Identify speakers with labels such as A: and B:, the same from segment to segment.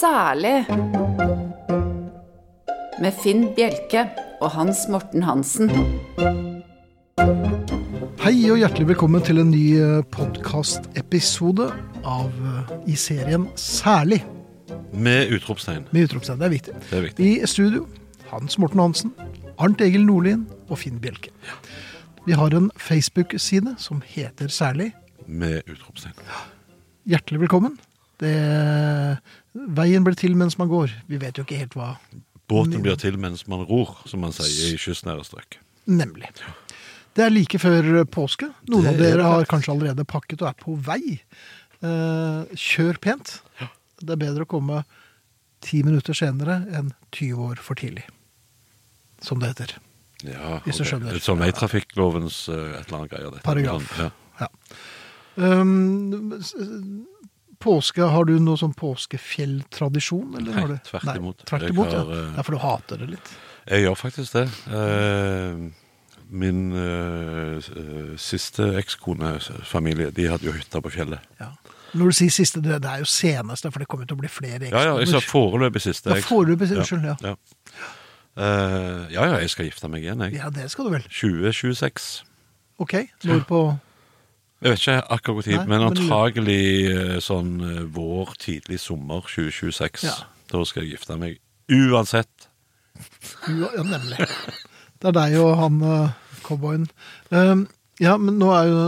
A: Særlig med Finn Bjelke og Hans Morten Hansen.
B: Hei og hjertelig velkommen til en ny eh, podkastepisode av eh, i serien Særlig
C: Med utropstegn.
B: med utropstegn. Det er viktig.
C: Det er viktig.
B: I studio Hans Morten Hansen, Arnt Egil Nordlien og Finn Bjelke. Vi har en Facebook-side som heter Særlig.
C: Med utropstegn.
B: Hjertelig velkommen. Det, veien blir til mens man går. Vi vet jo ikke helt hva
C: Båten blir til mens man ror, som man sier i kystnære strøk.
B: Nemlig. Det er like før påske. Noen av
C: Det er
B: dere har
C: det.
B: kanskje allerede pakket og er på vei. Eh, kjør pent. Det er bedre å komme ti minutter senere enn 20 år for tidlig. Som det heter.
C: Ja,
B: Hvis du
C: ok.
B: skjønner.
C: Litt som veitrafikklovens eh, et eller annet greier. dette.
B: Paragraf.
C: Ja.
B: Ja. Um, s- påske, har du noe sånn påskefjelltradisjon? Eller
C: Nei,
B: har du?
C: tvert imot.
B: tvert
C: Jeg
B: imot ja.
C: har, eh,
B: Det er for du hater det litt.
C: Jeg gjør faktisk det. Eh, Min eh, s- eh, siste ekskonefamilie, de hadde jo hytta på fjellet.
B: Ja. Når du sier siste, det det er jo seneste, for det kommer til å bli flere
C: Ja, ja, jeg sa
B: ekskoner.
C: foreløpig siste.
B: Ja,
C: eks-
B: foreløpig, unnskyld, ja.
C: Ja. Eh, ja, ja, jeg skal gifte meg igjen, jeg.
B: Ja, det skal du vel.
C: 2026.
B: Ok, når på
C: Jeg vet ikke akkurat hvor tid,
B: Nei,
C: men
B: men-
C: antagelig eh, sånn eh, vår, tidlig sommer 2026.
B: Ja.
C: Da skal jeg gifte meg. Uansett.
B: Ja, ja, nemlig. Det er deg og han eh, cowboyen. Ehm, ja, men nå er jo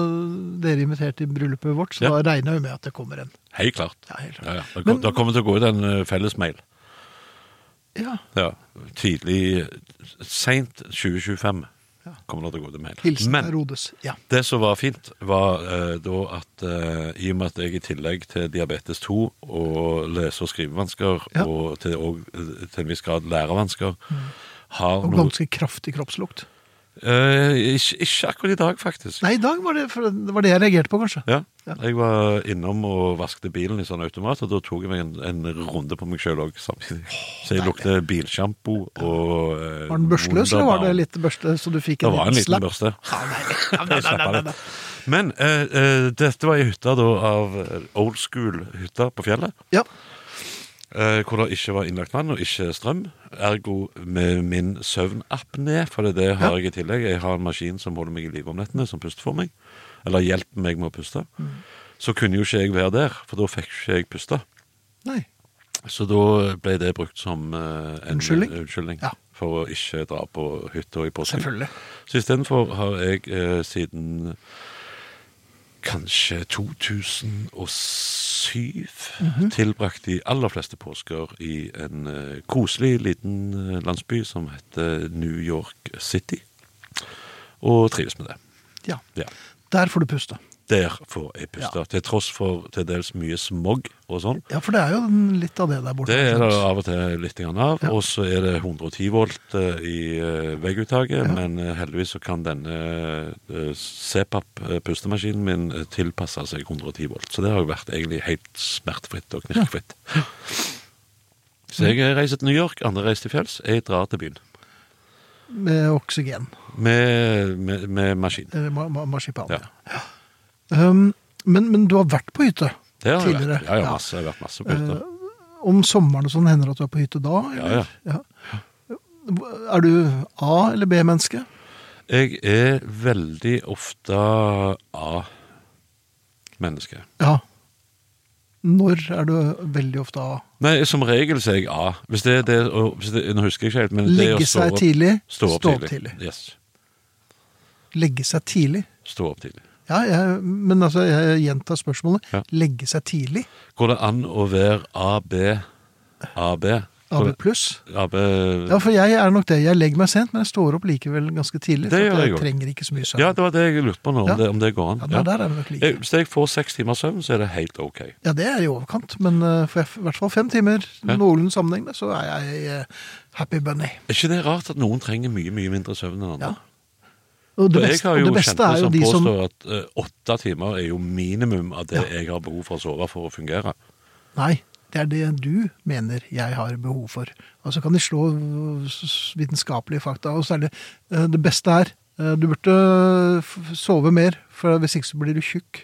B: dere invitert til bryllupet vårt, så
C: Ja.
B: da regner jeg jo med at det kommer en.
C: Helt klart.
B: Ja, helt klart.
C: Ja, ja. Det,
B: Men-
C: kom, det kommer til å gå ut en eh, fellesmail.
B: Ja,
C: Ja. Tidlig Seint 2025 kommer det til å gå ut en mail.
B: Hilsen
C: men
B: Herodes. Ja.
C: det som var fint, var eh, da at eh, i og med at jeg i tillegg til diabetes 2 og lese- og skrivevansker,
B: Ja. Mm.
C: og til, og, eh, til en viss grad lærevansker, har
B: Og
C: noe
B: ganske kraftig kroppslukt.
C: Eh, ikke, ikke akkurat i dag, faktisk.
B: Nei, i dag var det, for det var det jeg reagerte på, kanskje.
C: Ja.
B: Ja.
C: Jeg var innom og vaskte bilen i sånn automat, og da tok jeg meg en, en runde på meg sjøl òg samtidig. Så jeg lukte bilsjampo og eh,
B: Var den børstløs, eller var det
C: Wunderbaum.
B: litt børste, så du fikk
C: Det
B: en
C: var en
B: liten slapp?
C: liten børste.
B: Ja, nei, nei, nei, nei, nei, nei, nei.
C: Men eh, eh, dette var i hytta da av eh, old school-hytta på fjellet.
B: Ja,
C: Eh, hvor det ikke var innlagt vann og ikke strøm. Ergo med min søvnapné, for det, er det har jeg i tillegg. Jeg har en maskin som holder meg i live om nettene, som puster for meg. Eller hjelper meg med å puste.
B: Mm.
C: Så kunne jo ikke jeg være der, for da fikk ikke jeg puste.
B: nei.
C: Så da ble det brukt som eh, en
B: Unnskyldning?
C: unnskyldning
B: Ja.
C: for å ikke dra på hytta i påsken.
B: Selvfølgelig.
C: Så istedenfor har jeg eh, siden kanskje 2007 tilbrakt de aller fleste påsker i en eh, koselig liten eh, landsby som heter New York City, og trives med det.
B: Ja.
C: Ja.
B: Der får du puste.
C: Der får jeg puste,
B: Ja.
C: til tross for til dels mye smog og sånn.
B: Ja, for det er jo den- litt av det der borte.
C: Det er det
B: sant?
C: av og til litt grann av.
B: Ja.
C: Og så er det 110 volt eh, i eh, vegguttaket, men eh, heldigvis så kan denne eh, CPAP-pustemaskinen min eh, tilpasse seg 110 volt. Så det har jo vært egentlig helt smertefritt og knirkfritt. Så jeg eh, reiser til New York, andre reiser til fjells. Jeg drar til byen
B: Med oksygen.
C: med, med, med maskin.
B: Eller ma ma marsipan.
C: Ja.
B: ja. Um, men, men du har vært på hytte
C: Det har jeg
B: tidligere?
C: vært. Ja, Eh, ja, masse, jeg har vært masse på hytta.
B: Om sommeren og sånn hender det at du er på hytte da?
C: Ja,
B: ja. Er du A- eller B-menneske?
C: Jeg er veldig ofte A-menneske.
B: Ja. Når er du veldig ofte A?
C: Nei, som regel sier jeg A. Hvis det er det, å- hvis det, nå husker jeg ikke helt, men det å
B: Legge
C: stå
B: seg
C: opp-
B: tidlig,
C: Stå opp
B: stå opp
C: tidlig.
B: tidlig.
C: Yes.
B: Legge seg tidlig?
C: Stå opp tidlig.
B: Ja, jeg, men altså, jeg gjentar spørsmålet.
C: Ja.
B: Legge seg tidlig?
C: Går det an å være AB, AB?
B: AB pluss.
C: AB
B: Ja, for jeg er nok det. Jeg legger meg sent, men jeg står opp likevel ganske tidlig.
C: Det
B: så
C: gjør
B: at
C: jeg
B: jeg
C: også.
B: trenger ikke så mye søvn.
C: Ja, det var det jeg lurte på nå, om,
B: Ja.
C: det, om det går an.
B: Ja,
C: Ja.
B: der, der er vi nok like.
C: Eh, Hvis jeg får seks timers søvn, så er det helt OK.
B: Ja, det er i overkant, men eh, for jeg, i hvert fall fem timer noenlunde sammenhengende, så er jeg eh, happy bunny.
C: Er ikke det rart at noen trenger mye mye mindre søvn enn andre?
B: Ja. Og det
C: For jeg
B: beste,
C: har
B: og
C: jo
B: det beste
C: kjente
B: er jo
C: som
B: de som
C: påstår at eh, åtte timer er jo minimum av det jeg har behov for å sove for å fungere.
B: Nei, det er det du mener jeg har behov for. Og så kan de slå øh, s- vitenskapelige fakta, og særlig eh, det beste er eh, Du burde f- sove mer, for hvis ikke så blir du tjukk.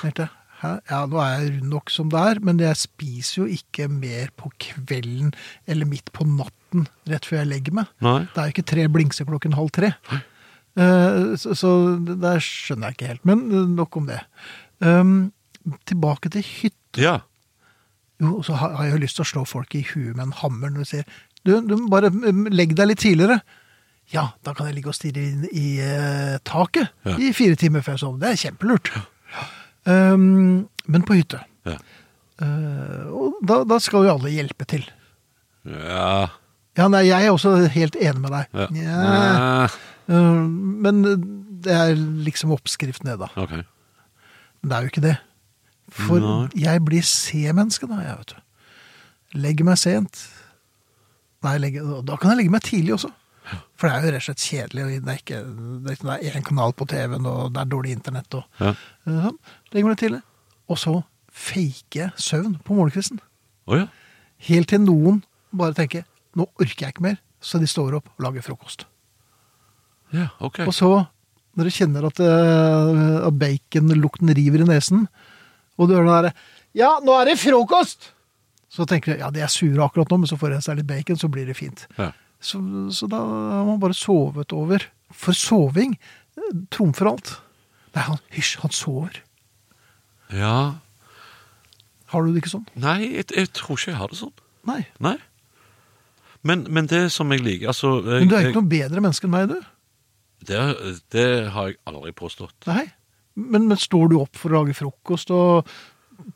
B: Tenkte jeg, Hæ? Ja, nå er jeg rund nok som det er, men jeg spiser jo ikke mer på kvelden eller midt på natten rett før jeg legger meg.
C: Nei.
B: Det er jo ikke tre blingser klokken halv tre. Eh, Så, så det der skjønner jeg ikke helt. Men eh, nok om det. Um, tilbake til hytta.
C: Ja.
B: Jo, og så har har jeg jo lyst til å slå folk i huet med en hammer når du sier du, du må bare mm, legg deg litt tidligere. Ja, da kan jeg ligge og stirre inn i eh, taket
C: Ja.
B: i fire timer før jeg sover. Det er kjempelurt. Um, men på hytte.
C: Ja.
B: Eh, og da, da skal jo alle hjelpe til.
C: ja.
B: Ja, nei, jeg er også helt enig med deg.
C: ja.
B: Nja. Eh, men det er liksom oppskriften, det, da.
C: OK.
B: Men det er jo ikke det. For
C: Nei.
B: jeg blir C-menneske da, jeg vet du. Legger meg sent. Nei, legger, da kan jeg legge meg tidlig også. For det er jo rett og slett kjedelig. og Det er ikke det er ikke- det er én kanal på TV-en, og det er dårlig internett. Og,
C: Ja.
B: Eh, sånn. Legger meg tidlig. Og så faker jeg søvn på morgenkvisten.
C: Å ja.
B: Helt til noen bare tenker nå orker jeg ikke mer, så de står opp og lager frokost.
C: Ja, OK.
B: Og så, når du kjenner at, eh, at baconlukten river i nesen, og du hører den derre Ja, nå er det frokost! Så tenker du ja, de er sure akkurat nå, men så får jeg seg litt bacon, så blir det fint.
C: Ja.
B: Så, så da har man bare sovet over. For soving eh, trumfer alt. Nei, han, hysj, han sover.
C: ja.
B: Har du det ikke sånn?
C: Nei, jeg, jeg tror ikke jeg har det sånn.
B: Nei.
C: Nei. Men, men det som jeg liker altså, jeg,
B: Men du er
C: jeg-
B: ikke noe bedre menneske enn meg, du.
C: det, det har jeg aldri påstått.
B: Nei. Men, men står du opp for å lage frokost og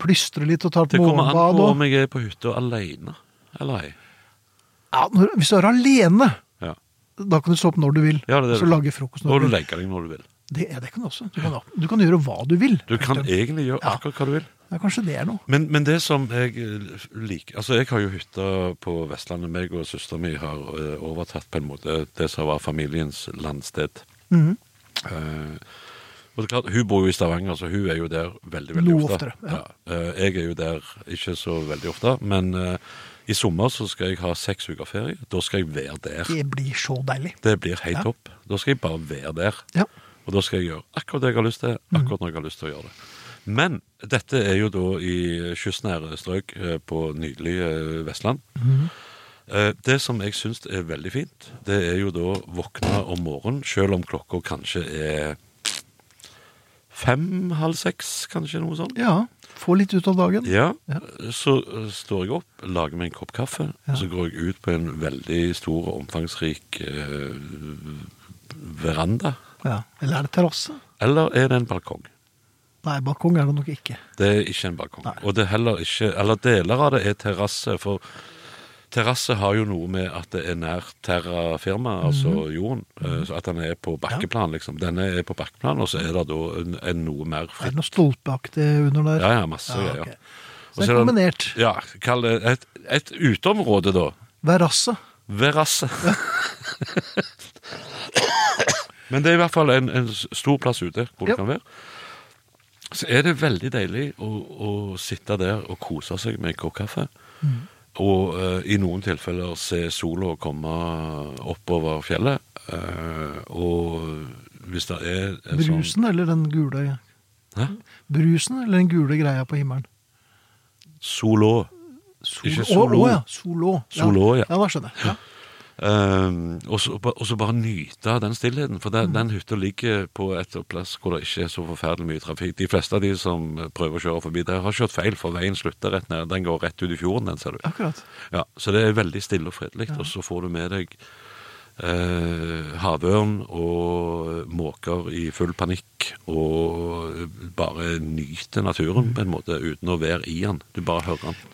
B: plystre litt og ta et
C: Det kommer an
B: morgenbad?
C: på
B: og-
C: om jeg er på hytta alene eller ei.
B: Ja, når, hvis du er alene,
C: Ja.
B: da kan du stå opp når du vil.
C: Ja, det er det.
B: og så lage frokost når
C: Og
B: du
C: du
B: vil.
C: legger deg når du vil.
B: Det, ja, det kan du også. Du kan, du kan gjøre hva du vil.
C: Du kan
B: ja,
C: egentlig gjøre
B: Ja.
C: akkurat hva du vil.
B: Kanskje det er noe.
C: Men, men det som jeg eh, liker Altså, jeg har jo hytta på Vestlandet. Meg og søstera mi har eh, overtatt på en måte det som var familiens landsted. Eh, og det er klart, Hun bor jo i Stavanger, så hun er jo der veldig veldig
B: Noe
C: ofte.
B: oftere, ja.
C: Eh, jeg er jo der ikke så veldig ofte, men eh, i sommer så skal jeg ha seks uker ferie. Da skal jeg være der.
B: Det blir så deilig.
C: Det blir helt
B: Ja.
C: topp. Da skal jeg bare være der.
B: Ja.
C: Og da skal jeg gjøre akkurat det jeg har lyst til, akkurat når jeg har lyst til å gjøre det. Men dette er jo da i kystnære strøk eh, på nydelige eh, Vestland.
B: Mhm.
C: Eh, Det som jeg syns er veldig fint, det er jo da våkne om morgenen, selv om klokka kanskje er fem-halv seks, kanskje noe sånt.
B: ja. Få litt ut av dagen.
C: Ja, så eh, står jeg opp, lager meg en kopp kaffe, og så går jeg ut på en veldig stor og omfangsrik eh, veranda.
B: Ja. Eller er det terrasse?
C: Eller er det en balkong?
B: Nei, balkong er det nok ikke.
C: Det er ikke en balkong.
B: Nei.
C: Og det er heller ikke, eller deler av det er terrasse, for terrasse har jo noe med at det er nær terra firma,
B: Mhm.
C: altså jorden. eh, Så at den er på bakkeplan, liksom. Denne er på bakkeplan, og så er det da en, en noe mer
B: Er
C: fritt.
B: det noe stolpeaktig under der?
C: Ja, ja, masse
B: Ja,
C: greier.
B: ok.
C: Og
B: Så det er
C: så er det-
B: kombinert.
C: Ja, kall det et, et uteområde, da.
B: Verrasse.
C: Verasse. Men det er i hvert fall en, en stor plass ute hvor
B: Ja.
C: det kan være. Så er det veldig deilig å, å sitte der og kose seg med en kopp kaffe.
B: Mm.
C: Og eh, i noen tilfeller se sola komme oppover fjellet. eh, og hvis det er en sånn
B: Brusen eller den gule
C: Hæ?
B: Brusen eller den gule greia på himmelen?
C: Solå.
B: Sol...
C: Ikke
B: Å,
C: solo.
B: å, ja. Solå.
C: Solå, ja.
B: ja, da skjønner jeg. Ja.
C: Um, og, så, ba- og så bare nyte av den stillheten, for den, den hytta ligger på et plass hvor det ikke er så forferdelig mye trafikk. De fleste av de som prøver å kjøre forbi der, har kjørt feil, for veien slutter rett ned. Den går rett ut i fjorden, den, ser du.
B: Akkurat.
C: Ja, så det er veldig stille og fredelig, og så får du med deg eh, havørn og måker i full panikk, og bare nyte naturen på en måte, uten å være i den. Du bare hører den.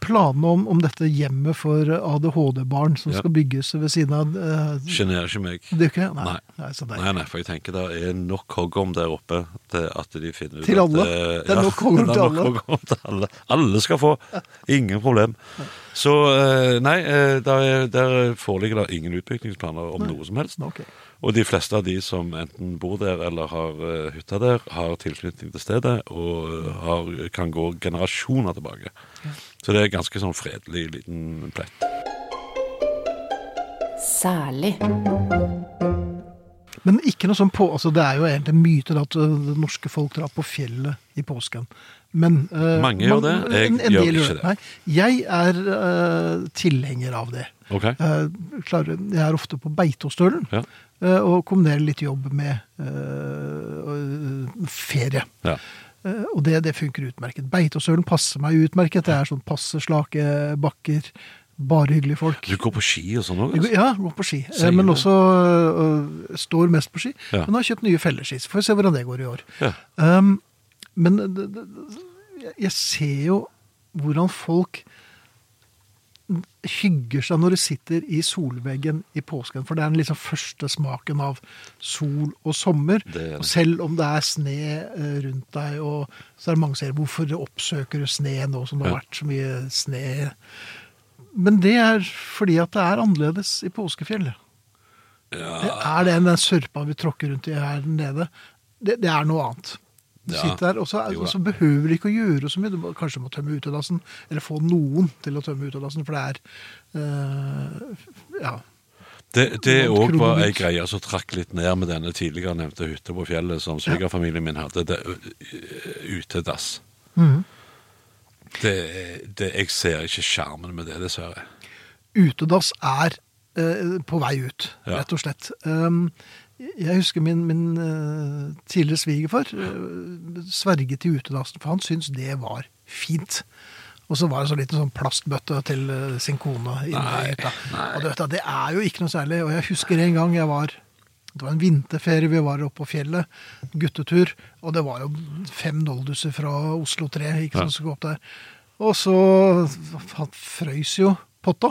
B: planene om, om dette hjemmet for ADHD-barn som
C: Ja.
B: skal bygges ved siden av eh,
C: Sjenerer ikke meg.
B: Det er ikke Nei.
C: Nei.
B: Nei, så det er-
C: Nei, nei, for jeg tenker det er nok hoggorm der oppe til at de finner ut
B: Til alle?
C: At, eh,
B: Det er nok hoggorm
C: det er
B: til
C: nok
B: alle.
C: hoggorm til alle. Alle skal få. Ingen problem. Så eh, nei, eh, der, er- der foreligger det ingen utviklingsplaner om noe som helst.
B: Ok.
C: Og de fleste av de som enten bor der eller har eh, hytta der, har tilknytning til stedet og eh, har, kan gå generasjoner tilbake. Så det er ganske sånn fredelig liten plett.
A: Særlig.
B: Men ikke noe sånn på, altså det er jo egentlig en myte da, at ø, det norske folk drar på fjellet i påsken. Men, øh, ø,
C: Mange gjør det. Jeg gjør ikke det.
B: Nei, jeg er ø, tilhenger av det.
C: Ok?
B: Eh, klarer, jeg er ofte på Beitostølen
C: Ja.
B: eh, og kombinerer litt jobb med eh, ø, ferie.
C: Ja.
B: Eh, Og det, det funker utmerket. Beitostølen passer meg utmerket. Det er sånn passe slake bakker, bare hyggelige folk.
C: Du går på ski og sånn òg?
B: Jeg går-
C: Altså.
B: Ja, går på ski. Eh,
C: Sier
B: Men
C: du.
B: også øh, står mest på ski.
C: Ja.
B: Men har kjøpt nye felleski. Så får vi se hvordan det går i år.
C: Ja.
B: Um, men det, det, det- jeg ser jo hvordan folk hygger seg når de sitter i solveggen i påsken. For det er den liksom første smaken av sol og sommer.
C: Det er det.
B: Og selv om det er sne eh, rundt deg, og så er det mange som sier hvorfor oppsøker du sne nå som det har
C: Ja.
B: vært så mye sne? Men det er fordi at det er annerledes i påskefjellet. Det er det enn den sørpa vi tråkker rundt i her nede. Det, det er noe annet. Du
C: Ja.
B: sitter der, og så, er-
C: Jo da.
B: og så behøver du ikke å gjøre så mye. Du må, kanskje må tømme utedassen, eller få noen til å tømme utedassen, for det er eh, Ja.
C: Det, det
B: Noen
C: òg var ei
B: kroner.
C: greie som trakk litt ned med denne tidligere nevnte hytta på fjellet som svigerfamilien min hadde. Det, eh, ø- utedass.
B: Mhm.
C: Det, det, jeg ser ikke sjarmen med det, dessverre.
B: Utedass er eh, på vei ut,
C: Ja.
B: rett og slett. Um, jeg husker min, min eh, tidligere svigerfar eh, sverget til utedassen, for han syntes det var fint. Og så var det så liten sånn plastbøtte til eh, sin kone inne i hytta. Og du vet, da, det er jo ikke noe særlig. Og jeg husker en gang jeg var det var en vinterferie, vi var oppe på fjellet, guttetur, og det var jo fem nolduser fra Oslo 3 ikke, som skulle gå opp der. Og så han frøys jo potta.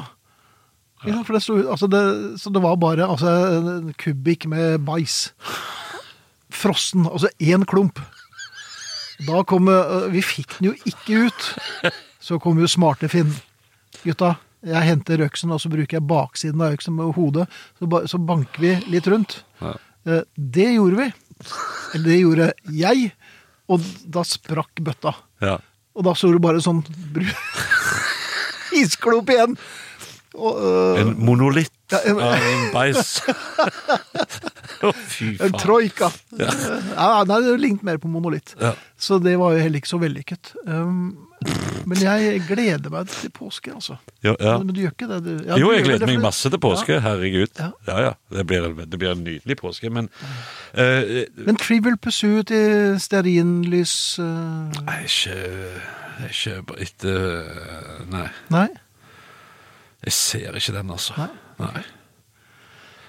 B: Ikke sant? For det sto, ut- altså det, så det var bare altså, en kubikk med bajs. Frossen. Altså én klump. Da kom eh, Vi fikk den jo ikke ut. Så kom jo smarte Finn. Gutta, jeg henter øksen, og så bruker jeg baksiden av øksen med hodet. Så, ba, så banker vi litt rundt. Eh, Det gjorde vi. Eller det gjorde jeg. Og da sprakk bøtta.
C: Ja.
B: Og da sto det bare sånn bru- isklump igjen. Og, øh,
C: En monolitt
B: Ja, en-
C: av en beis. Å, Fy
B: En
C: faen.
B: Eh, troika. Eh, Ja. nei, det lignet mer på monolitt.
C: Ja.
B: Så det var jo heller ikke så vellykket. Um, men jeg gleder meg til påske, altså.
C: Ja, ja.
B: Men du gjør ikke det? Du, ja,
C: Jo,
B: du
C: jeg
B: gjør
C: gleder
B: det,
C: meg
B: for-
C: masse til påske. Herregud.
B: Ja.
C: Ja, ja. Det blir, en- det blir en nydelig påske, men eh,
B: Men Trivial Pursuit i stearinlys øh,
C: Nei, ikke, ikke etter Nei,
B: Nei?
C: jeg ser ikke den, altså.
B: Nei.
C: Nei.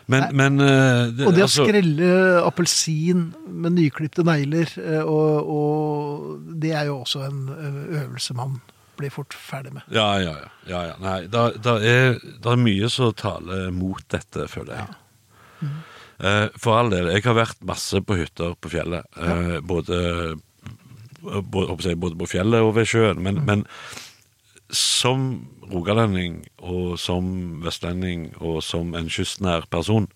C: Men, men eh, det,
B: Og det å
C: altså,
B: skrelle eh, appelsin med nyklipte negler, øh, og, og det er jo også en øh, øvelse man blir fort ferdig med.
C: Ja, ja, ja. ja, ja. Nei, da, da er, da er mye som taler mot dette, føler jeg. Eh, for all del. Jeg har vært masse på hytter på fjellet. eh, både, både, håper jeg, både på fjellet og ved sjøen. Men,
B: Mm.
C: men som rogalending og som vestlending og som en kystnær person,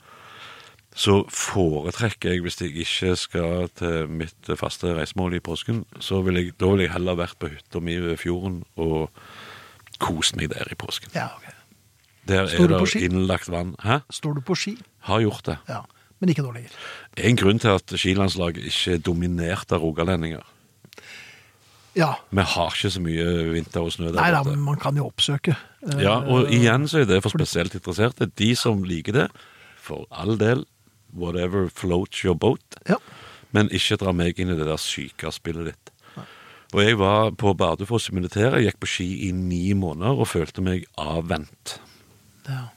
C: så foretrekker jeg, hvis jeg ikke skal til mitt faste reisemål i påsken, så vil jeg, da vil jeg heller vært på hytta mi ved fjorden og kost meg der i påsken.
B: Ja, ok.
C: Der
B: Står
C: er
B: du på
C: det
B: ski?
C: innlagt vann. Hæ?
B: Står du på ski?
C: Har gjort det.
B: Ja. Men ikke nå lenger.
C: Det er en grunn til at skilandslaget ikke er dominert av rogalendinger.
B: Ja.
C: Vi har ikke så mye vinter og snø der
B: Nei da,
C: borte.
B: men man kan jo oppsøke. øh,
C: Ja, og igjen så er det for spesielt interesserte. De som liker det, for all del, whatever floats your boat,
B: Ja.
C: men ikke dra meg inn i det der syke spillet ditt. Og jeg var på Bardufoss i militæret, gikk på ski i ni måneder og følte meg avvent.
B: Ja.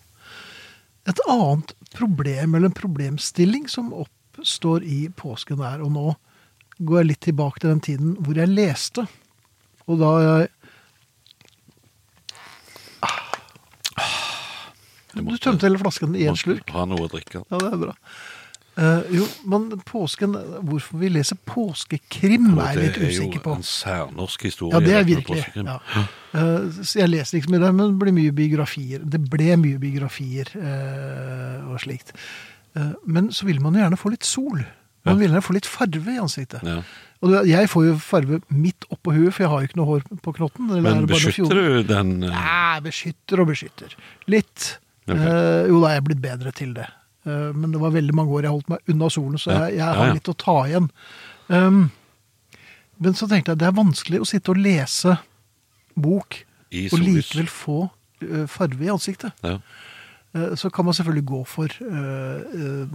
B: Et annet problem, eller en problemstilling, som oppstår i påsken er, og nå går jeg litt tilbake til den tiden hvor jeg leste, og da jeg Du tømte hele flasken i én slurk.
C: Ha noe å drikke.
B: Ja, det er bra. Eh, jo, men påsken Hvorfor vi leser påskekrim, er jeg litt usikker på.
C: Det er jo en særnorsk historie.
B: Ja, det er
C: dette med
B: virkelig.
C: påskekrim.
B: Ja. Eh, så jeg leser ikke så mye der, men det blir mye biografier. Det ble mye biografier eh, og slikt. Eh, men så vil man jo gjerne få litt sol. Man vil gjerne få litt farve i ansiktet.
C: Ja.
B: Og det- jeg får jo farve midt oppå huet, for jeg har jo ikke noe hår på knotten. eller er
C: Men
B: det bare noen
C: beskytter
B: fjor-
C: du den eh,
B: Nei, beskytter og beskytter. Litt.
C: Ok.
B: Eh, jo da, jeg er blitt bedre til det. Eh, men det var veldig mange år jeg holdt meg unna solen, så
C: Ja.
B: jeg, jeg
C: Ja,
B: har
C: ja.
B: litt å ta igjen. Um, men så tenkte jeg det er vanskelig å sitte og lese bok
C: i
B: og
C: sollys?
B: likevel få eh, farve i ansiktet.
C: Ja.
B: Eh, så kan man selvfølgelig gå for eh,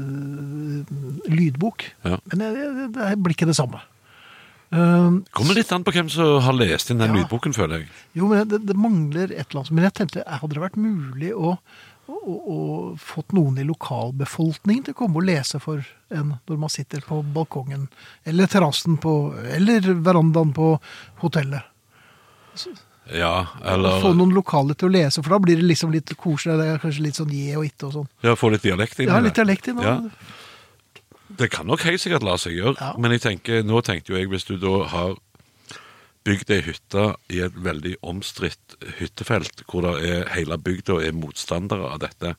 B: eh, lydbok,
C: Ja.
B: men det, det, det blir ikke det samme. Um,
C: Kommer litt an på hvem som har lest inn den
B: Ja.
C: lydboken, føler jeg.
B: Jo, men det, det mangler et eller annet. Men jeg tenkte, hadde det vært mulig å, å, å, å fått noen i lokalbefolkningen til å komme og lese for en når man sitter på balkongen, eller terrassen på, eller verandaen på hotellet?
C: Ja,
B: Få
C: eller
B: noen lokale til å lese, for da blir det liksom litt koselig. Det er kanskje litt sånn je og itte og sånn.
C: ja, få litt dialekt inn
B: Jeg har litt dialekt i nå.
C: Ja. Det kan nok helt sikkert la seg gjøre,
B: Ja.
C: men jeg tenker, nå tenkte jo jeg hvis du da har bygd ei hytte i et veldig omstridt hyttefelt, hvor det er, hele bygda er motstandere av dette.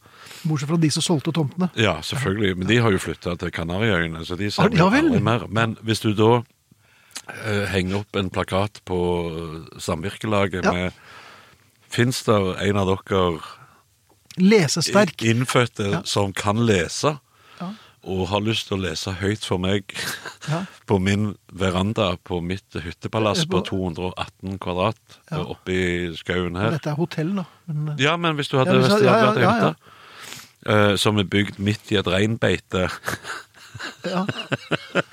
B: Bortsett fra de som solgte tomtene.
C: Ja, selvfølgelig, men de har jo flytta til Kanariøyene, så de
B: Ah,
C: ser vi
B: ja vel.
C: aldri mer. Men hvis du da eh, henger opp en plakat på eh, samvirkelaget
B: Ja.
C: med Fins der en av dere
B: Lesesterk.
C: innfødte
B: Ja.
C: som kan lese,
B: Ja.
C: og har lyst til å lese høyt for meg
B: Ja.
C: på min veranda på mitt
B: Eh,
C: hyttepalass på
B: på-
C: 218 kvadrat
B: Ja.
C: oppe i skauen her.
B: Dette er hotell, da. Men, eh,
C: Ja, men hvis du hadde,
B: Ja, hvis jeg-
C: hvis det hadde
B: ja,
C: vært
B: ja, ja,
C: en hytte eh, som er bygd midt i et reinbeite
B: ja.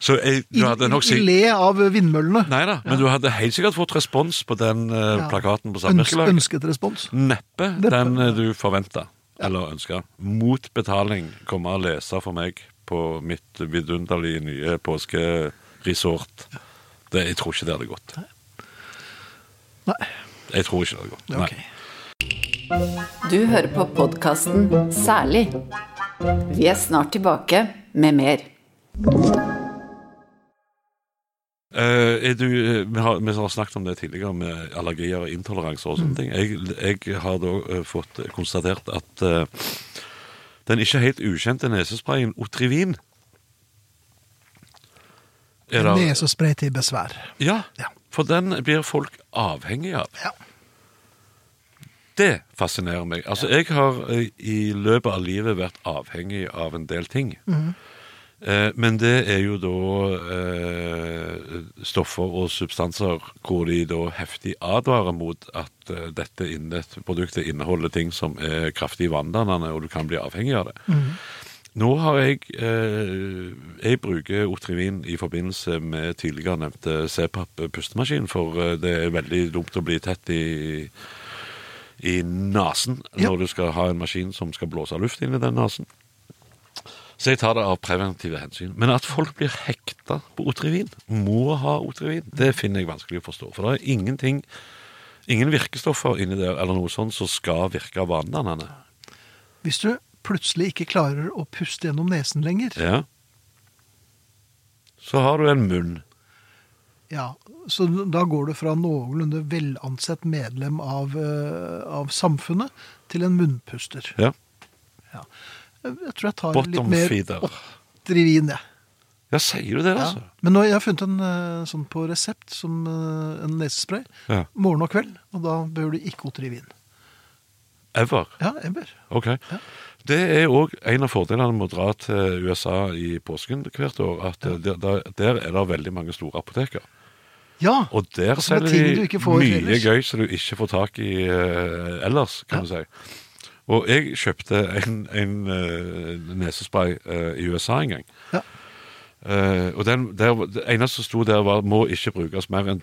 C: Så jeg,
B: I,
C: du hadde nok
B: i, I
C: sikkert
B: le av vindmøllene.
C: Nei da, men du hadde helt sikkert fått respons på den eh,
B: Ja.
C: plakaten på
B: Øns,
C: samvirkelaget.
B: ønsket respons.
C: Neppe den eh, du forventa eller ønska. Mot betaling kommer og lese for meg på mitt vidunderlige nye påskeresort. Det, jeg tror ikke det hadde gått.
B: Nei.
C: Jeg tror ikke det hadde gått. Nei.
B: Ok.
A: Du hører på podkasten Særlig. Vi er snart tilbake med mer.
C: Eh, er du, eh, vi, har, vi har snakket om det tidligere, med allergier og intoleranser og sånne ting. Jeg, jeg har da eh, fått konstatert at eh, den ikke helt ukjente nesesprayen Otrivin er det-
B: Nesespray til besvær.
C: Ja,
B: Ja.
C: for den blir folk avhengige av.
B: Ja.
C: Det fascinerer meg. Altså, jeg har eh, i løpet av livet vært avhengig av en del ting. Eh, men det er jo da eh, stoffer og substanser hvor de da heftig advarer mot at eh, dette inn- dette produktet inneholder ting som er kraftig vanndannende, og du kan bli avhengig av det. Nå har jeg eh, Jeg bruker Otrivin i forbindelse med tidligere nevnte CPAP-pustemaskin, for eh, det er veldig dumt å bli tett i i nesen
B: Ja.
C: når du skal ha en maskin som skal blåse luft inn i den nesen. Så jeg tar det av preventive hensyn. Men at folk blir hekta på Otrivin, må ha Otrivin, det finner jeg vanskelig å forstå. For det er ingenting, ingen virkestoffer inni der eller noe sånt som skal virke vanedannende.
B: Hvis du plutselig ikke klarer å puste gjennom nesen lenger,
C: Ja. Så har du en munn.
B: ja, så da går du fra noenlunde velansett medlem av, eh, av samfunnet til en munnpuster.
C: Ja.
B: Ja. Jeg tror jeg tar litt
C: Bottom
B: mer
C: feeder.
B: Otrivin, jeg.
C: Ja, sier du det,
B: Ja.
C: altså?
B: Men nå, jeg har funnet en eh, sånn på resept som eh, en nesespray.
C: Ja.
B: Morgen og kveld, og da behøver du ikke Otrivin.
C: Ever.
B: Ja, Ember.
C: Ok. Det er òg en av fordelene med å dra til USA i påsken hvert år, at eh, der, der, der er det veldig mange store apoteker.
B: Ja,
C: Og der
B: Som er
C: selger
B: ting du
C: de
B: ikke får
C: mye
B: ellers.
C: gøy som du ikke får tak i eh, ellers, kan du si. Og jeg kjøpte en, en eh, nesespray eh, i USA en gang.
B: Ja.
C: Eh, og den, der, det eneste som sto der, var må ikke brukes mer enn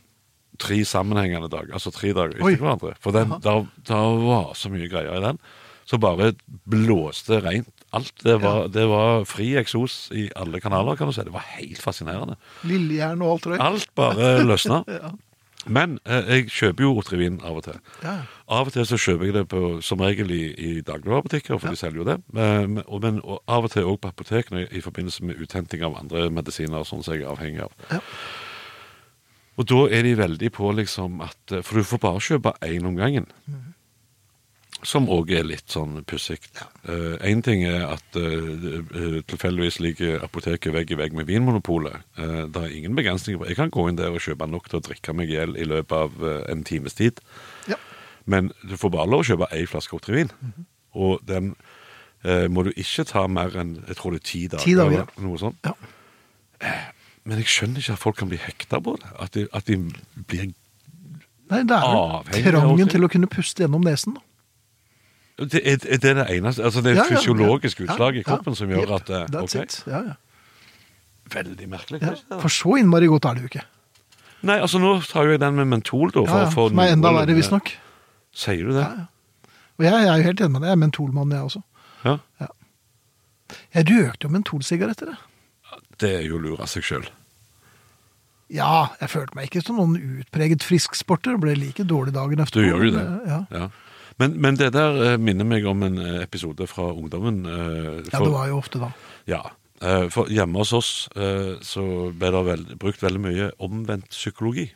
C: tre sammenhengende dager. Altså tre dager etter
B: Oi.
C: hverandre. For den, der, der var så mye greier i den. Så bare blåste rent alt. Det var, det var fri eksos i alle kanaler, kan du si. Det var helt fascinerende.
B: Lillejern og alt røyk.
C: Alt bare løsna. Men eh, jeg kjøper jo Otrivin av og til.
B: Ja.
C: Av og til så kjøper jeg det på, som regel i, i dagligvarebutikker, for de selger jo det. Eh, Men, og, men og av og til òg på apotekene i forbindelse med uthenting av andre medisiner. sånn som jeg er avhengig av.
B: Ja.
C: Og da er de veldig på liksom at eh, For du får bare kjøpe én om gangen. Som òg er litt sånn pussig. Én ting er at eh, eh, tilfeldigvis ligger apoteket vegg i vegg med Vinmonopolet. Eh, det er ingen begrensninger på Jeg kan gå inn der og kjøpe nok til å drikke meg i hjel i løpet av eh, en times tid.
B: Ja.
C: Men du får bare lov å kjøpe ei flaske Otrivin. Og den eh, må du ikke ta mer enn jeg tror det er ti dager.
B: Ti dager,
C: eller Noe sånt.
B: Ja.
C: Eh, Men jeg skjønner ikke at folk kan bli hekta på det. At de, at de blir
B: Nei, det er
C: Avhengig
B: vel
C: av
B: trangen
C: alkohol.
B: til å kunne puste gjennom nesen. da.
C: det er, er det det eneste Altså, det er
B: Ja,
C: et
B: ja,
C: fysiologisk
B: ja.
C: utslag
B: Ja,
C: i kroppen som gjør
B: ja.
C: at eh,
B: That's
C: ok,
B: it. Ja, ja.
C: Veldig merkelig.
B: Ja.
C: kanskje.
B: For så innmari godt er det jo ikke.
C: Nei, altså nå tar jo jeg den med mentol, da.
B: Ja, ja. Som er enda verre, visstnok.
C: Sier du det?
B: Ja, Og jeg, jeg er jo helt enig med deg. Jeg er mentolmann, jeg også.
C: Ja.
B: Jeg røkte jo mentolsigaretter, jeg.
C: Det er jo å lure seg sjøl.
B: Ja, jeg følte meg ikke som noen utpreget frisk sporter. Ble like dårlig dagen
C: Du
B: etter.
C: gjør jo det.
B: Men, Ja.
C: Ja. Men, men det der eh, minner meg om en eh, episode fra ungdommen. eh,
B: ja,
C: for-
B: det var jo ofte da.
C: Ja. eh, For hjemme hos oss eh, så ble det vel, brukt veldig mye omvendt psykologi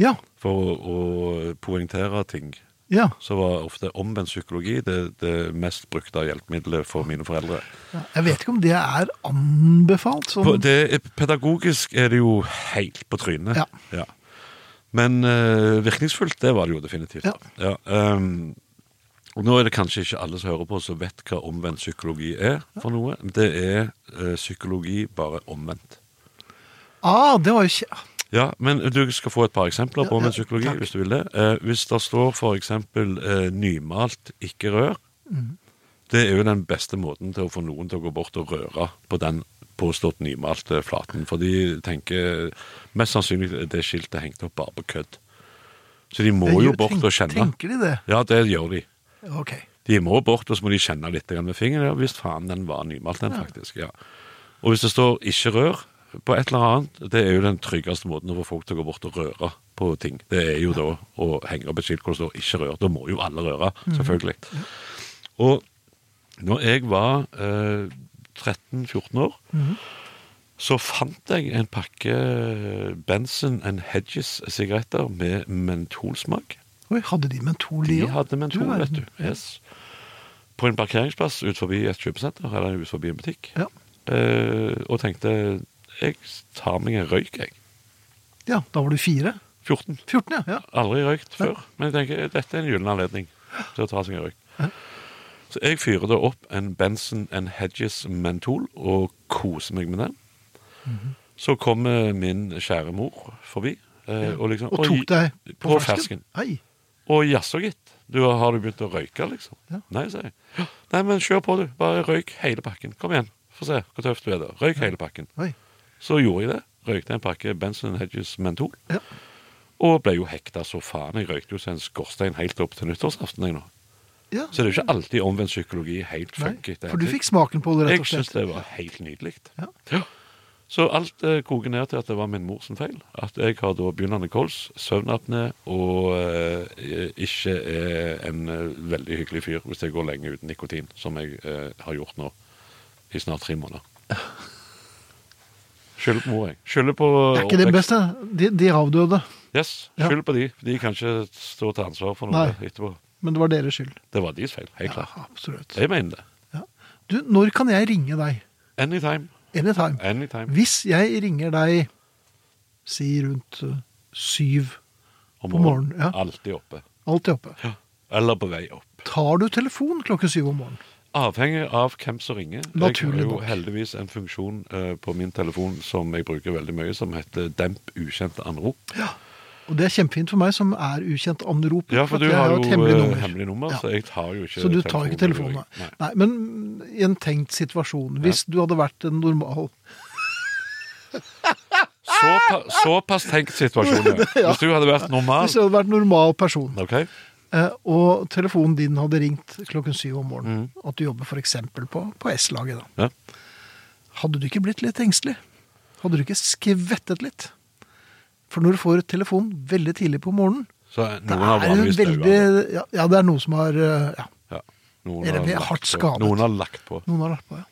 B: Ja,
C: for å, å poengtere ting.
B: ja.
C: Så var ofte omvendt psykologi det, det mest brukte hjelpemiddelet for mine foreldre.
B: ja. Jeg vet ikke om det er anbefalt. Sånn.
C: På, det, er- pedagogisk er det jo helt på trynet.
B: Ja.
C: Men eh, virkningsfullt, det var det jo definitivt.
B: Ja.
C: Ja, ehm, og nå er det kanskje ikke alle som hører på som vet hva omvendt psykologi er for noe. Det er eh, psykologi bare omvendt.
B: Ah, det var jo kje...
C: Ja, men du skal få et par eksempler
B: Ja,
C: på omvendt
B: ja,
C: psykologi,
B: takk.
C: hvis du vil det. Eh, hvis det står for eksempel eh, nymalt, ikke rør,
B: Mhm.
C: det er jo den beste måten til å få noen til å gå bort og røre på den påstått nymalte flaten. For de tenker mest sannsynlig er det skiltet hengt opp bare på kødd. Så de må
B: Jeg
C: jo
B: gjør-
C: bort
B: tenk-
C: og kjenne.
B: Tenker de det?
C: Ja, det gjør de.
B: Ok.
C: De må bort, og så må de kjenne litt grann med fingeren. Ja, hvis faen den var nymalt, den faktisk. Ja. Og hvis det står 'ikke rør' på et eller annet, det er jo den tryggeste måten å få folk til å gå bort og røre på ting. Det er jo da å henge opp et skilt hvor det står 'ikke rør'. Da må jo alle røre, selvfølgelig. Og når jeg var eh, 13-14 år, så fant jeg en pakke eh, Benson and Hedges-sigaretter med mentolsmak.
B: Oi, hadde de mentol,
C: De
B: også?
C: hadde mentol,
B: verden.
C: vet du. Yes. På en parkeringsplass ut forbi et kjøpesenter, eller ut forbi en butikk.
B: Ja.
C: Eh, og tenkte jeg tar meg en røyk, jeg.
B: ja, da var du fire.
C: 14.
B: 14, ja. ja.
C: Aldri røykt før. Men jeg tenker dette er en gyllen anledning til å ta seg en røyk. Så jeg fyrer da opp en Benson and Hedges mentol og koser meg med den.
B: Mhm.
C: Så kommer min kjære mor forbi. eh, og, liksom,
B: Og tok deg
C: på, fersken.
B: Ei.
C: Og jaså, gitt. Du, har du begynt å røyke, liksom?
B: Ja.
C: Nei, sier jeg. «Ja, Nei, men kjør på, du. Bare røyk hele pakken. Kom igjen. Få se hvor tøft du er da. Røyk hele pakken.
B: Oi.
C: Så gjorde jeg det. Røykte en pakke Benson Hedges Mentol.
B: Ja.
C: Og ble jo hekta så faen. Jeg røykte jo som en skorstein helt opp til nyttårsaften. jeg nå.
B: Ja.
C: Så det er jo ikke alltid omvendt psykologi helt
B: Nei,
C: funker. etter
B: for du
C: hensikt.
B: fikk smaken på det, rett
C: Jeg
B: og
C: syns
B: slett.
C: det var helt nydelig.
B: Ja.
C: Ja. Så alt eh, koker ned til at det var min mor sin feil. At jeg har da begynnende kols, søvnapné og eh, ikke er en eh, veldig hyggelig fyr hvis jeg går lenge uten nikotin, som jeg eh, har gjort nå i snart tre måneder. Skylder på mor, jeg. Skylder på
B: Er ikke det
C: oppvekst.
B: beste? De, de avdøde.
C: Yes,
B: Ja.
C: Skyld på de. De kan ikke stå til ansvar for noe
B: Nei.
C: etterpå.
B: Men det var deres skyld.
C: Det var deres feil, helt
B: Ja,
C: klart.
B: absolutt.
C: Jeg mener det.
B: Ja. Du, når kan jeg ringe deg?
C: Anytime.
B: Anytime.
C: Anytime.
B: Hvis jeg ringer deg, si rundt eh, syv,
C: Om
B: på morgenen, ja.
C: Alltid oppe.
B: alltid oppe.
C: Ja. Eller på vei opp.
B: Tar du telefon klokken syv om morgenen?
C: Avhengig av hvem som ringer.
B: Naturlig
C: jeg har jo
B: nok.
C: heldigvis en funksjon eh, på min telefon som jeg bruker veldig mye, som heter demp ukjente anrop.
B: Og det er kjempefint for meg som er ukjent anroper.
C: Ja, for
B: at
C: du
B: jeg
C: har jo
B: et
C: eh,
B: hemmelig nummer.
C: hemmelig nummer,
B: Ja.
C: så jeg tar jo ikke
B: Så du tar ikke telefonen?
C: når jeg
B: Nei.
C: ringer.
B: Nei, men i en tenkt situasjon, hvis du hadde vært en normal
C: Såpa, såpass tenkt situasjonen.
B: Ja.
C: Hvis du hadde vært normal
B: Hvis du hadde vært en normal person,
C: Ok,
B: eh, og telefonen din hadde ringt klokken syv om morgenen,
C: Mm.
B: at du jobber f.eks. på, på S-laget, da.
C: ja.
B: hadde du ikke blitt litt engstelig? Hadde du ikke skvettet litt? For når du får telefon veldig tidlig på morgenen,
C: Så
B: det
C: noen har
B: er en
C: vanligvis
B: veldig
C: daua.
B: ja, ja, det er noen som har eh, ja,
C: Ja. Noen
B: Eller
C: har
B: blir
C: lagt
B: hardt
C: på.
B: skadet.
C: Noen har lagt på.
B: noen har lagt på, ja.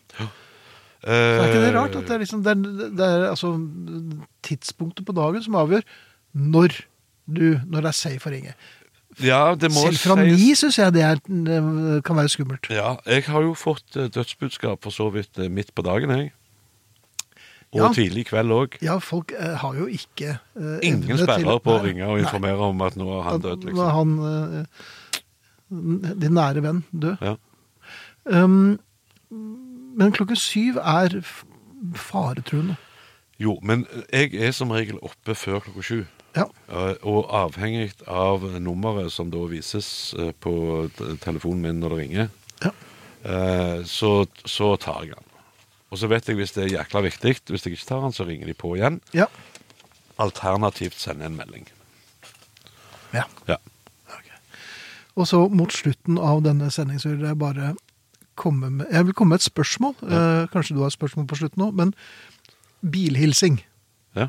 C: Eh,
B: Så er ikke det rart at det er, liksom, det er, det er altså, tidspunktet på dagen som avgjør når, du, når det er safe å ringe.
C: Ja, det må
B: Selv fra
C: sies-
B: ni syns jeg det er, eh, kan være skummelt.
C: Ja, jeg har jo fått eh, dødsbudskap for så vidt eh, midt på dagen, jeg. Og
B: Ja.
C: tidlig i kveld òg.
B: Ja, folk eh, har jo ikke eh,
C: Ingen
B: evne
C: sperrer
B: til-
C: på å
B: Nei,
C: ringe og informere om at nå er han død,
B: Nå er
C: liksom.
B: han eh, din nære venn død.
C: Ja.
B: Um, men klokken syv er f- faretruende.
C: Jo, men eh, jeg er som regel oppe før klokka sju.
B: Ja.
C: eh, Og avhengig av nummeret som da vises eh, på t- telefonen min når det ringer,
B: Ja.
C: eh, så, så tar jeg den. Og så vet jeg hvis det er jækla viktig. Hvis jeg ikke tar den, så ringer de på igjen.
B: Ja.
C: Alternativt sender en melding.
B: ja.
C: Ja.
B: Og så mot slutten av denne sendingen så vil jeg bare komme med Jeg vil komme med et spørsmål. Eh, kanskje du har et spørsmål på slutten nå, men bilhilsing.
C: ja.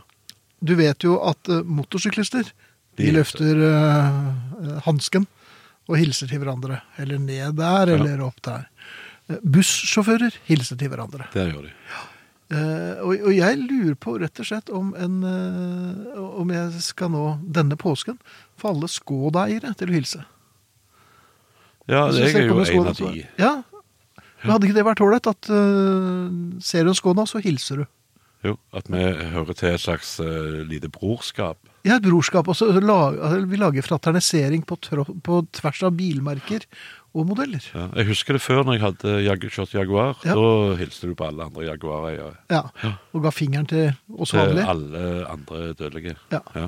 B: Du vet jo at eh, motorsyklister
C: De
B: de
C: hilser.
B: løfter uh, hansken og hilser til hverandre. Eller ned der, eller opp der. Eh, Bussjåfører hilser til hverandre.
C: Det gjør de.
B: Eh, og, og jeg lurer på rett og slett om, en, eh, om jeg skal nå denne påsken få alle skådeiere til å hilse.
C: Ja,
B: Så
C: jeg
B: ser
C: er
B: på
C: jo
B: med
C: en
B: Skoda,
C: av
B: så-
C: de.
B: Ja. Men hadde ikke det vært ålreit at eh, ser du en Skoda, så hilser du?
C: Jo, at vi hører til et slags eh, lite brorskap.
B: Ja, et brorskap. Og så lag, altså, vi lager fraternisering på, tro, på tvers av bilmerker og modeller.
C: Ja. Jeg husker det før når jeg hadde jag kjørt Jaguar.
B: Ja.
C: Da hilste du på alle andre Jaguar-eiere.
B: Ja. Og ga fingeren til oss
C: Til
B: vanlige.
C: alle andre dødelige.
B: Ja. Ja,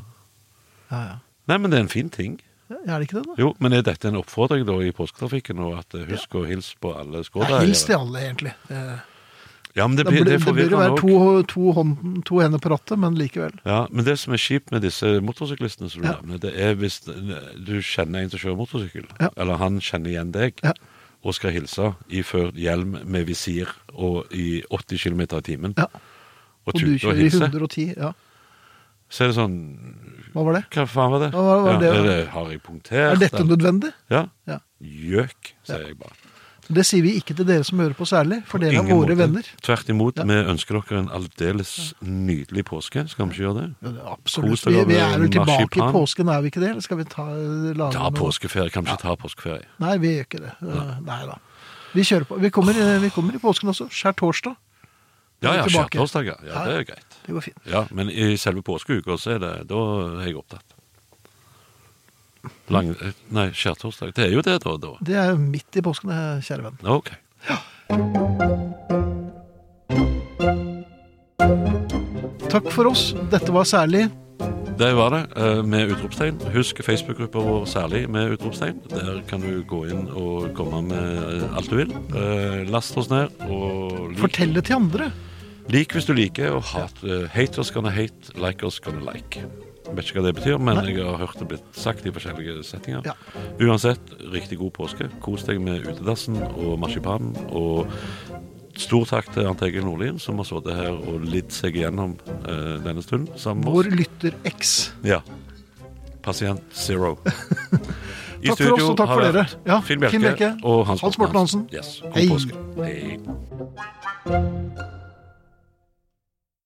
B: ja.
C: Nei, men det er en fin ting.
B: Er det ikke det, da?
C: Jo, men er dette en oppfordring da i påsketrafikken? Og at eh, husk å hilse på alle
B: Ja, hils til
C: skådeiere?
B: alle, egentlig. Det,
C: Ja, men det
B: da blir,
C: blir, det er
B: det blir jo være
C: forvirrende òg.
B: to, to, hånd, to hender på rattet, men likevel.
C: Ja, men det som er kjipt med disse motorsyklistene, som du
B: Ja.
C: nevner, det er hvis du kjenner en som kjører motorsykkel,
B: Ja.
C: eller han kjenner igjen deg,
B: Ja.
C: og skal hilse iført hjelm med visir og i 80 km i timen,
B: Ja. Og
C: og
B: du
C: tuter og
B: kjører i
C: hilser,
B: 110. Ja.
C: så er det sånn
B: Hva var det?
C: Hva faen var det?
B: Hva var- var det-
C: ja, er det har jeg punktert?
B: Er dette
C: eller-
B: nødvendig?
C: Ja.
B: Ja.
C: Gjøk, sier jeg bare.
B: Det sier vi ikke til dere som hører på særlig, for dere er
C: Ingen
B: våre
C: måte.
B: venner.
C: Tvert imot, vi ønsker dere en aldeles nydelig påske. Skal vi ikke gjøre det?
B: Ja, det er Absolutt.
C: Kos dere
B: Vi, vi
C: med
B: er jo tilbake i
C: marsipan.
B: påsken, er vi ikke det? Eller skal vi ta lage
C: Ta
B: noe-
C: påskeferie. Kan vi ikke ta påskeferie?
B: Nei, vi gjør ikke det. Eh, Nei da. Vi kjører på. Vi kommer, eh, vi kommer i påsken også. Skjærtorsdag.
C: Ja, ja,
B: Tilbake.
C: skjærtorsdager. Ja, det er greit.
B: Det går fint.
C: Ja, men i selve påskeuka så er det Da er jeg opptatt. Lang, eh, nei, skjærtorsdag. Det er jo det, da. da.
B: Det er jo midt i påsken, det, kjære venn.
C: Ok.
B: Takk for oss. Dette var særlig
C: Det var det, eh, med utropstegn. Husk Facebook-gruppa vår særlig med utropstegn. Der kan du gå inn og komme med eh, alt du vil. Eh, Last oss ned, og lik,
B: Fortell det til andre.
C: lik hvis du liker, og hat, eh, hate oss gonna hate, like oss gonna like. Jeg vet ikke hva det betyr, men jeg har hørt det blitt sagt i forskjellige settinger.
B: Ja.
C: Uansett, riktig god påske. Kos deg med utedassen og marsipanen. Og stor takk til Arnt Egil Nordlien, som har sittet her og lidd seg igjennom eh, denne stunden sammen med oss.
B: Vår lytter X.
C: Ja. Pasient zero. I
B: Takk for oss, og takk for dere. Ja,
C: Finn Bjelke
B: Finn Bjelke,
C: og Hans,
B: Hans Morten Hansen.
C: Yes,
B: Hei.
C: god påske. Hei.